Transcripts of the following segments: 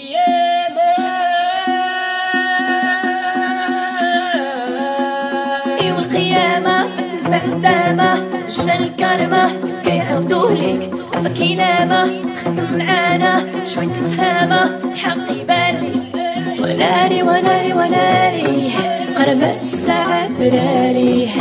أيام يوم القيامة الفندامة شفنا الكرمة كيعودوه ليك وفك كلامة خدم معانا شوية الفهامة الحق يبان لي وناري وناري وناري قربت الساعة فراري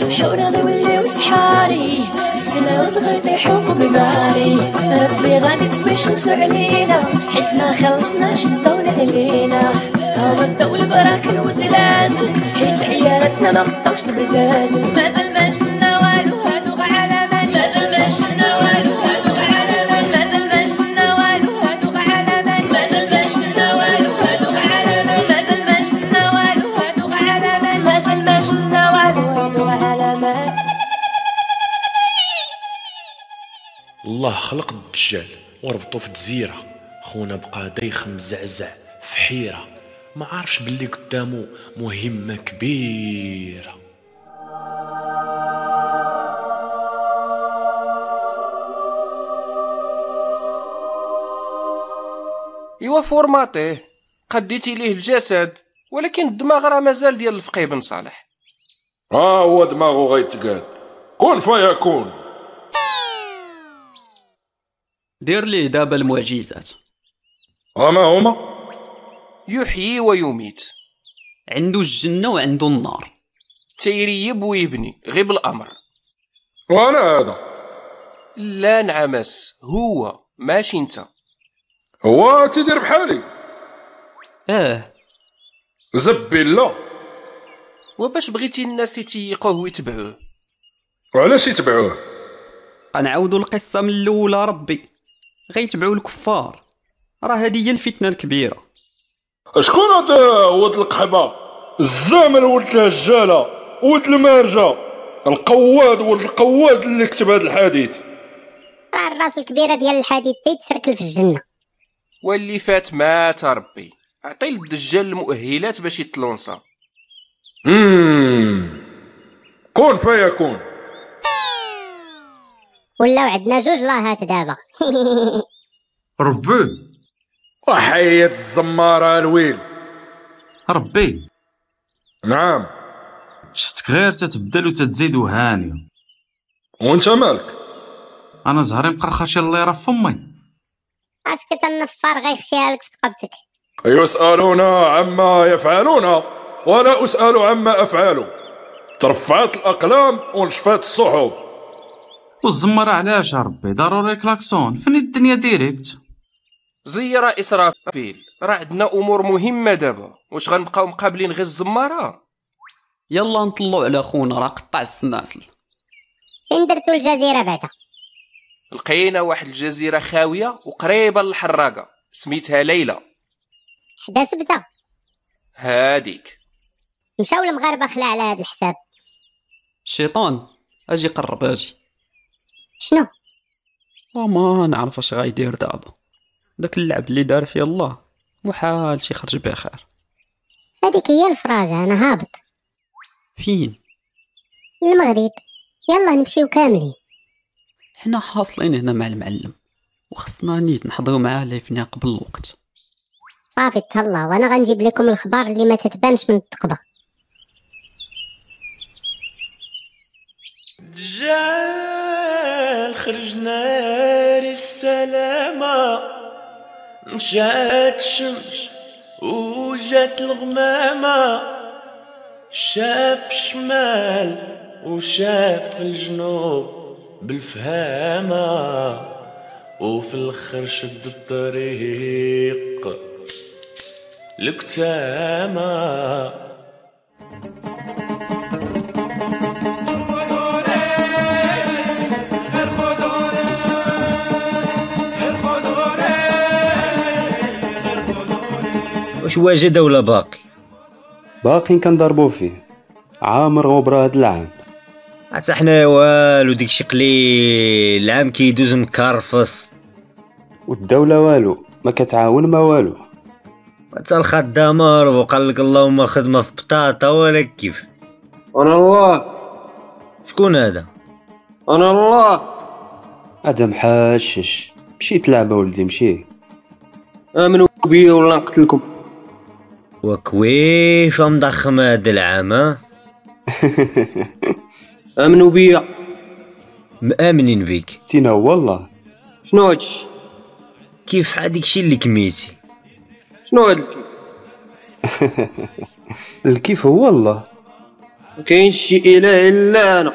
بحورة غيولي وسحاري السما وتغطي حروف بداري ربي غادي تفيش نسو علينا حيت ما خلصناش الضوء علينا هو الضوء البراكن وزلازل حيت عيالاتنا ما غطاوش البزازل مازال ما شفنا والو هادو غا علامات مازال ما شفنا والو هادو غا علامات مازال ما شفنا والو هادو غا علامات مازال ما شفنا والو هادو غا علامات مازال ما شفنا والو هادو غا علامات مازال ما شفنا والو هادو غا علامات الله خلق الدجال وربطو في جزيرة خونا بقى دايخ مزعزع في حيرة ما عارفش باللي قدامو مهمة كبيرة إوا فورماطيه قديتي ليه الجسد ولكن الدماغ راه مازال ديال الفقيه بن صالح ها هو دماغه غيتقاد كن فيكون دير ليه دابا المعجزات هما هما يحيي ويميت عنده الجنة وعنده النار تيريب ويبني غير بالأمر وانا هذا لا نعمس هو ماشي انت هو تيدير بحالي اه زبي لا وباش بغيتي الناس يتيقوه ويتبعوه وعلاش يتبعوه غنعاودوا القصة من الأولى ربي غيتبعوا الكفار راه هذه هي الفتنة الكبيرة شكون هاد ولد القحبة الزامل ولد الهجالة ولد المارجة القواد ولد القواد اللي كتب هاد الحديث راه الراس الكبيره ديال الحديد تيتسركل في الجنه واللي فات مات ربي عطي للدجال المؤهلات باش يتلونصا مم. كن فيكون ولاو عندنا جوج لاهات دابا ربي وحية الزمارة الويل ربي نعم شفتك غير تتبدل وتتزيد وهانية وانت مالك انا زهري مقرخش اللي راه فمي اسكت النفار غيخشيها لك في تقبتك يسألون عما يفعلون ولا أسأل عما أفعل ترفعت الأقلام ونشفت الصحف والزمرة علاش يا ربي ضروري كلاكسون فني الدنيا ديريكت زيرة إسرافيل راه عندنا أمور مهمة دابا واش غنبقاو مقابلين غير الزمارة يلا نطلعوا على خونا راه قطع السناسل فين درتو الجزيره بعدا لقينا واحد الجزيرة خاوية وقريبة للحراقة سميتها ليلى حدا سبته هاديك مشاو المغاربه خلا على هذا الحساب الشيطان اجي قرب اجي شنو وما نعرف اش غيدير دابا داك اللعب اللي دار فيه الله وحال شي خرج بخير هذيك هي الفراجه انا هابط فين المغرب يلا نمشيو كاملين حنا حاصلين هنا مع المعلم وخصنا نيت نحضروا معاه ليفنا قبل الوقت صافي تهلا وانا غنجيب لكم الخبار اللي ما تتبانش من التقبه دجال خرجنا للسلامة مشات الشمس وجات الغمامة شاف الشمال وشاف الجنوب بالفهامة وفي الخر شد الطريق لكتامة واش واجد ولا باقي باقيين كنضربو فيه عامر غبرة هاد العام حتى حنايا والو داكشي قليل العام كيدوز مكرفص والدولة والو ما كتعاون ما والو حتى الخدامة وقال لك اللهم خدمة في بطاطا ولا كيف انا الله شكون هذا انا الله هذا محشش مشيت لعبة ولدي مشي امنوا بيا ولا نقتلكم وكويف مضخم هاد العام ها؟ امنوا بيا مامنين بيك تينا والله شنو هادشي كيف هاديك الشي اللي كميتي شنو هاد الكيف الكيف هو الله ما كاينش شي اله الا انا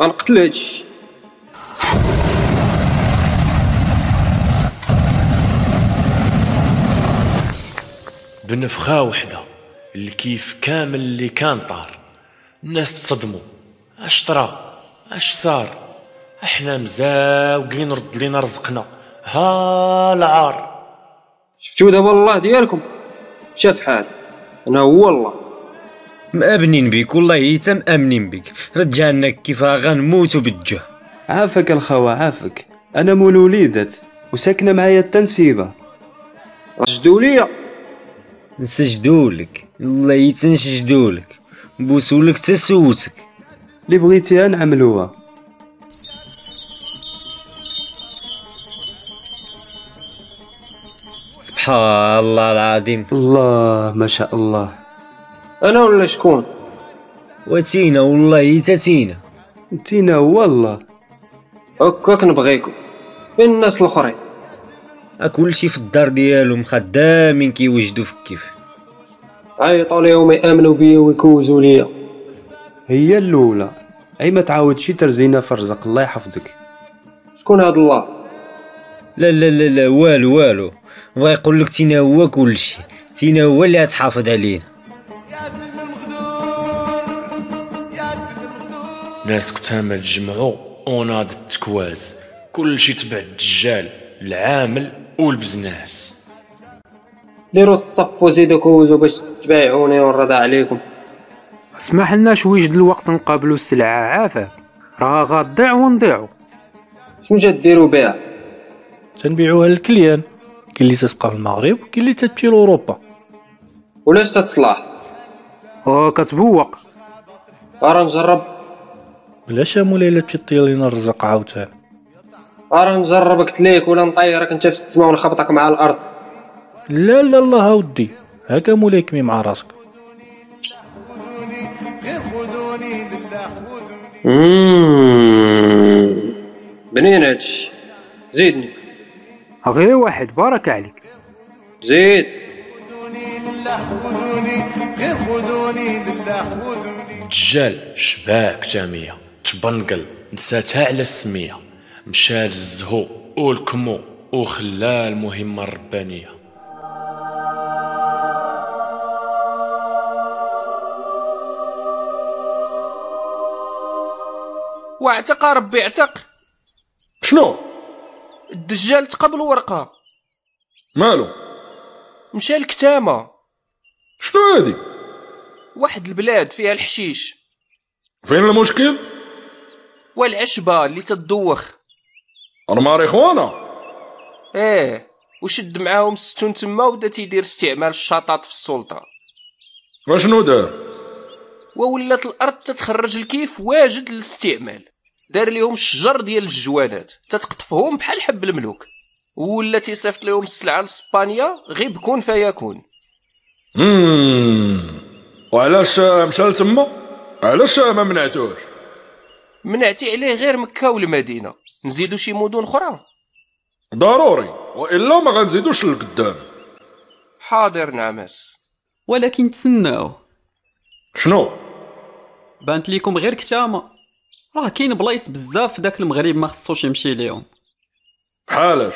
غنقتل هادشي بنفخة وحدة الكيف كامل اللي كان طار الناس تصدموا اش طرا اش صار احنا مزاوقين رد لينا رزقنا ها العار شفتوا دابا الله ديالكم مشى فحال انا هو الله مامنين بيك والله حتى مامنين بيك رجع لنا كيف راه غنموتوا بالجوع عافاك الخوا عافاك انا مول وليدات وساكنه معايا التنسيبه سجدوا ليا نسجدوا لك الله تنسجدوا لك نبوسوا لك تسوتك اللي بغيتيها نعملوها سبحان الله العظيم الله ما شاء الله انا ولا شكون وتينا والله تتينا تينا هو الله هكاك نبغيكم فين الناس الاخرين كلشي آه، في الدار ديالهم خدامين كيوجدوا في الكيف عيطوا ليهم يامنوا بيا ويكوزوا ليا هي الاولى اي ما تعاودش ترزينا في رزق الله يحفظك شكون هاد الله لا لا لا لا والو والو بغا يقول لك تينا هو كلشي تينا هو اللي غتحافظ علينا ناس كتامة تجمعوا اوناد التكواز كلشي تبع الدجال العامل والبزناس ديروا الصف وزيدوا كوزوا باش تبايعوني ونرضى عليكم اسمح لنا شويج د الوقت نقابلوا السلعة عافاك راه غضيع ونضيعو شنو جا ديروا بها تنبيعوها للكليان كاين اللي تتبقى في المغرب وكاين اللي تتمشي لاوروبا ولاش تتصلح وكتبوق غير آه، نجرب بلا شامو ليلة تطير لينا الرزق عاوتاني غير نجربك تليك ولا نطيرك انت في السماء ونخبطك مع الارض لا لا لا هاودي هكا مولاي كمي مع راسك مم. بنين هادشي زيدني غير واحد بارك عليك زيد الدجال شباك تامية تبنقل نساتها على السمية مشى للزهو والكمو وخلا المهمة الربانية واعتق ربي اعتق شنو الدجال تقبل ورقه مالو مشى لكتامه شنو هادي واحد البلاد فيها الحشيش فين المشكل والعشبه اللي تدوخ الماريخوانا ايه وشد معاهم ستون تما وبدا تيدير استعمال الشطاط في السلطه وشنو دار وولات الارض تتخرج الكيف واجد للاستعمال دار ليهم الشجر ديال الجوانات تتقطفهم بحال حب الملوك ولا تيصيفط ليهم السلعه لاسبانيا غير بكون فيكون مم. وعلاش آه، مشى لتما علاش آه، ما منعتوش منعتي عليه غير مكه والمدينه نزيدو شي مدن اخرى ضروري والا ما غنزيدوش لقدام حاضر نعمس ولكن تسناو شنو بانت ليكم غير كتامه راه كاين بلايص بزاف في داك المغرب ما خصوش يمشي ليهم بحالاش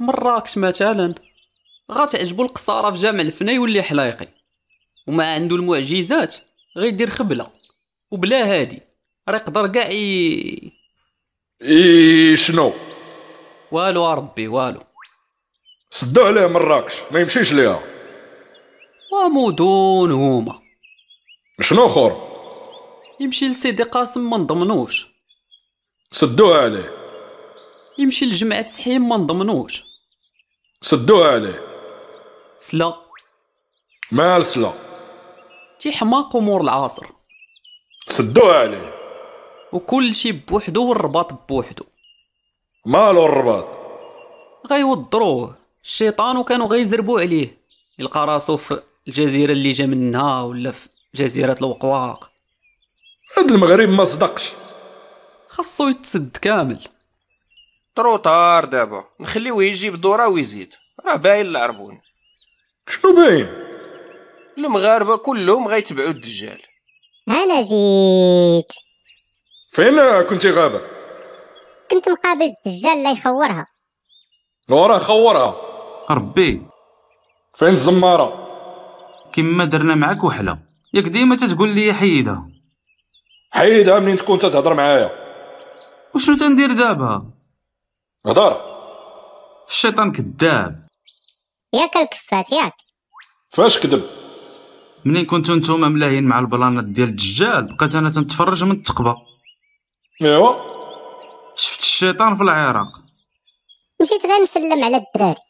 مراكش مثلا غتعجبو القصاره في جامع الفنا يولي حلايقي وما عنده المعجزات غيدير خبله وبلا هادي راه يقدر كاع ي- اي شنو والو ربي والو سدوا عليه مراكش ما يمشيش ليها ومدن هما شنو خور يمشي لسيدي قاسم ما نضمنوش سدوها عليه يمشي لجمعة سحيم ما نضمنوش سدوها عليه سلا مال سلا تيحماق امور العصر سدوها عليه وكل شي بوحدو والرباط بوحدو مالو الرباط غيوضروه الشيطان وكانوا غيزربوا عليه يلقى راسو في الجزيره اللي جا منها ولا في جزيره الوقواق هاد المغرب ما صدقش خاصو يتسد كامل طروطار دابا نخليوه يجيب دورة ويزيد راه باين العربون شنو باين المغاربة كلهم غيتبعوا الدجال انا جيت فين كنتي غابه كنت مقابل الدجال لا يخورها وراه خورها ربي فين الزماره كما درنا معك وحله ياك ديما تتقول لي حيدها حيدها منين تكون تتهضر معايا وشنو تندير دابا هضر الشيطان كذاب ياك الكفات ياك فاش كذب منين كنتو نتوما ملاهين مع البلانات ديال الدجال بقيت انا تنتفرج من التقبه ايوا شفت الشيطان في العراق مشيت غير نسلم على الدراري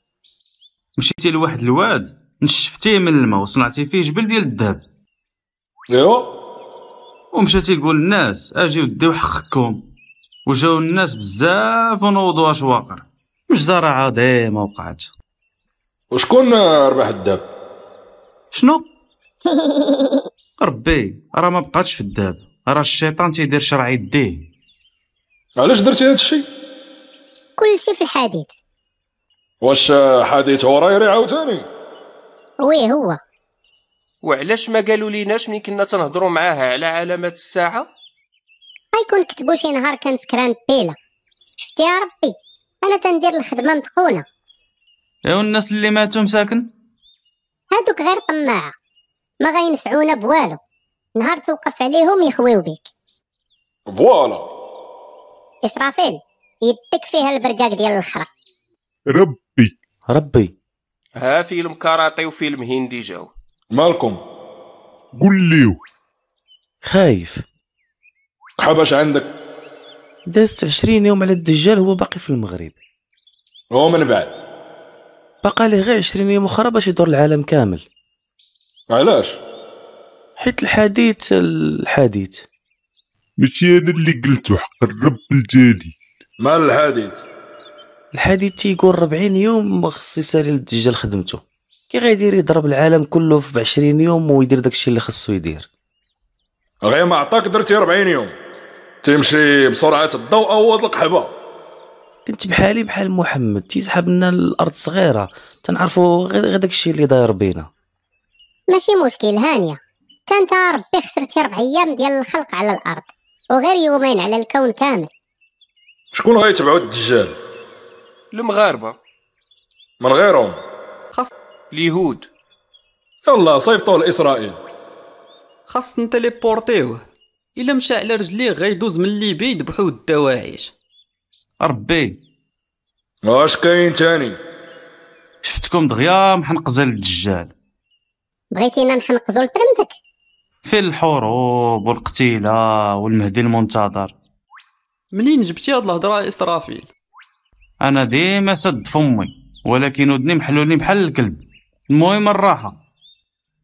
مشيتي لواحد الواد نشفتيه من الماء وصنعتي فيه جبل ديال الذهب ايوا ومشاتي تقول للناس اجيو ديو حقكم وجاو الناس بزاف ونوضوا اشواقر مجزره عظيمه وقعت وشكون ربح الذهب شنو ربي راه ما بقاتش في الذهب راه الشيطان تيدير شرع يديه علاش درتي هذا الشيء كلشي في الحديث واش حديث هريري عاوتاني وي هو وعلاش ما قالوا ليناش ملي كنا تنهضروا معاها على علامات الساعة غيكون كتبو شي نهار كان سكران بيلا شفتي يا ربي انا تندير الخدمه متقونه ايوا الناس اللي ماتوا مساكن هادوك غير طماعه ما غينفعونا بوالو نهار توقف عليهم يخويو بيك فوالا اسرافيل يدك فيها البرقاق ديال الخرا ربي ربي ها فيلم كاراتي وفيلم هندي جاو مالكم قول ليو خايف قحباش عندك دازت عشرين يوم على الدجال هو باقي في المغرب ومن بعد بقى ليه غير عشرين يوم اخرى باش يدور العالم كامل علاش حيت الحديث الحديث ماشي انا اللي قلتو حق الرب الجاني مال الحديث الحديث تيقول 40 يوم ما خصو يسالي للدجال خدمته كي غيدير يضرب العالم كله في 20 يوم ويدير داكشي اللي خصو يدير غير ما عطاك درتي 40 يوم تمشي بسرعه الضوء او واد القحبه كنت بحالي بحال محمد تيسحب لنا الارض صغيره تنعرفوا غير غير داكشي اللي داير بينا ماشي مشكل هانيه تا انت ربي خسرتي ربع ايام ديال الخلق على الارض وغير يومين على الكون كامل شكون غيتبعوا الدجال المغاربة من غيرهم خاص اليهود يلا صيفطوا لاسرائيل خاص نتيليبورتيوه الا مشى على رجليه غيدوز من ليبي يذبحوه الدواعش ربي واش كاين تاني شفتكم دغيا محنقزه للدجال بغيتينا نحنقزو لترمدك فين الحروب والقتيله والمهدي المنتظر منين جبتي هاد الهضره يا اسرافيل انا ديما سد فمي ولكن ودني محلولين بحال الكلب المهم الراحه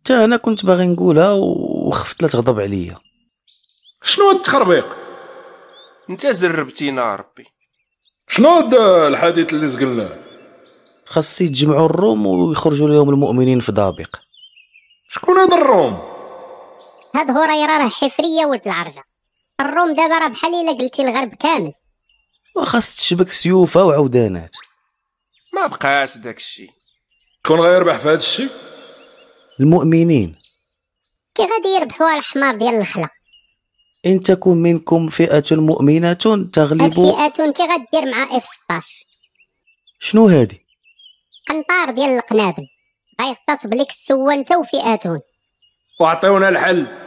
حتى انا كنت باغي نقولها وخفت لا تغضب عليا شنو هاد التخربيق انت زربتينا ربي شنو هاد الحديث اللي زقلناه خاص يتجمعوا الروم ويخرجوا لهم المؤمنين في دابق شكون هاد الروم هاد هريره راه حفريه ولد العرجه الروم دابا راه بحال الا قلتي الغرب كامل وخاص تشبك سيوفها وعودانات ما بقاش داكشي شكون غيربح في هاد الشيء المؤمنين كي غادي يربحوها الحمار ديال الخلا ان تكن منكم فئه مؤمنه هاد تغلب فئه كي غدير مع اف 16 شنو هادي قنطار ديال القنابل غيغتصب لك السوى انت وفئاتهم وعطيونا الحل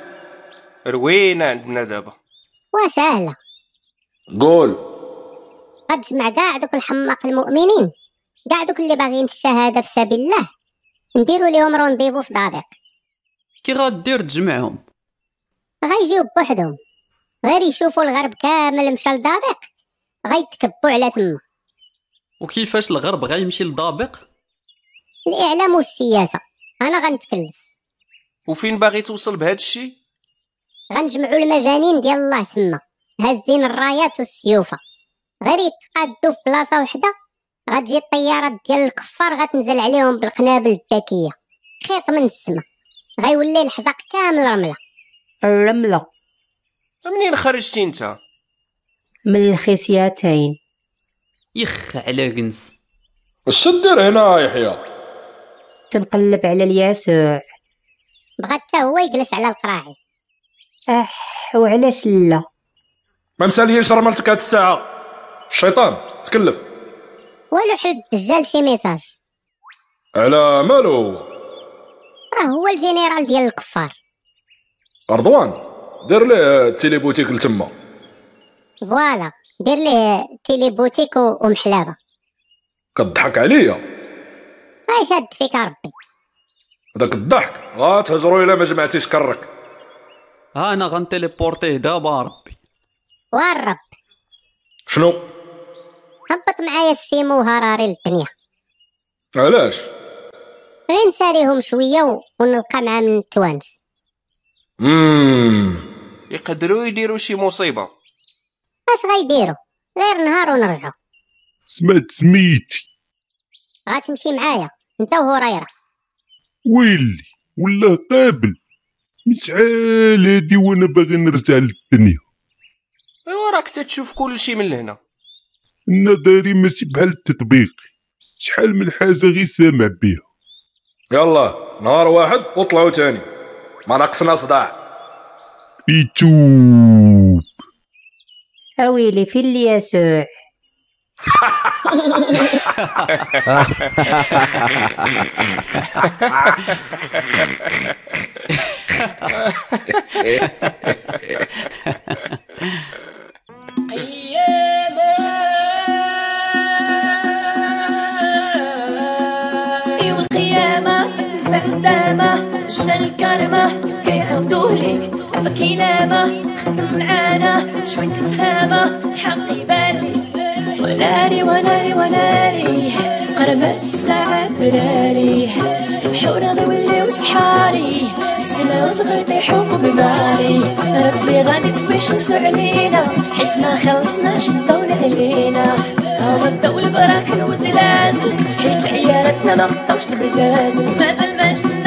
روينا عندنا دابا وسهله قول غتجمع كاع دوك الحماق المؤمنين كاع دوك اللي باغيين الشهاده في سبيل الله نديرو ليهم رونديفو في دابق كي غدير تجمعهم غيجيو بوحدهم غير يشوفوا الغرب كامل مشى لدابق غيتكبوا على تما وكيفاش الغرب غيمشي لضابق الاعلام والسياسه انا غنتكلف وفين باغي توصل بهاد الشيء غنجمعوا المجانين ديال الله تما هازين الرايات والسيوفه غير يتقادوا في بلاصه وحده غتجي الطيارات ديال الكفار غتنزل عليهم بالقنابل الذكيه خيط من السما غيولي الحزق كامل رمله الرملة منين خرجتي انت من الخصيتين يخ على كنس اش دير هنا يحيى تنقلب على اليسوع بغا حتى هو يجلس على القراعي اح وعلاش لا ما مساليش رملتك هاد الساعه الشيطان تكلف والو حل الدجال شي ميساج على مالو هو راه هو الجنرال ديال الكفار رضوان دير ليه التيليبوتيك لتما فوالا دير ليه تيلي بوتيك و- ومحلابه كضحك عليا ما شاد فيك ربي داك الضحك غاتهجرو الا ما جمعتيش كرك ها انا غنتيليبورتيه دابا ربي والرب شنو هبط معايا السيمو هراري للدنيا علاش غير نساليهم شويه و- ونلقى مع من التوانس امم يقدروا يديروا شي مصيبه اش غيديروا غير نهار ونرجعوا سمعت سميتي غتمشي معايا انت وهريره ويلي ولا قابل مشعال هادي وانا باغي نرجع للدنيا ايوا راك تتشوف كلشي من هنا النظري ماشي بحال التطبيق شحال من حاجه غير سامع بيها يلا نهار واحد وطلعوا تاني ما ناقصنا صداع بيتوب اويلي في اليسوع يوم القيامة الفندامة شنا الكرمة كيعاودوه ليك عفاك يلامة خدم معانا شوية الفهامة حقي بالي وناري وناري وناري قربت الساعة براري بحورة غيوليو صحاري السماء وتغطي حوفوك ناري ربي غادي تفشمسو علينا حيت ما خلصناش الضوء علينا هما الضوء البراكن وزلازل حيت عيارتنا ما غطاوش البزازل ما في المجد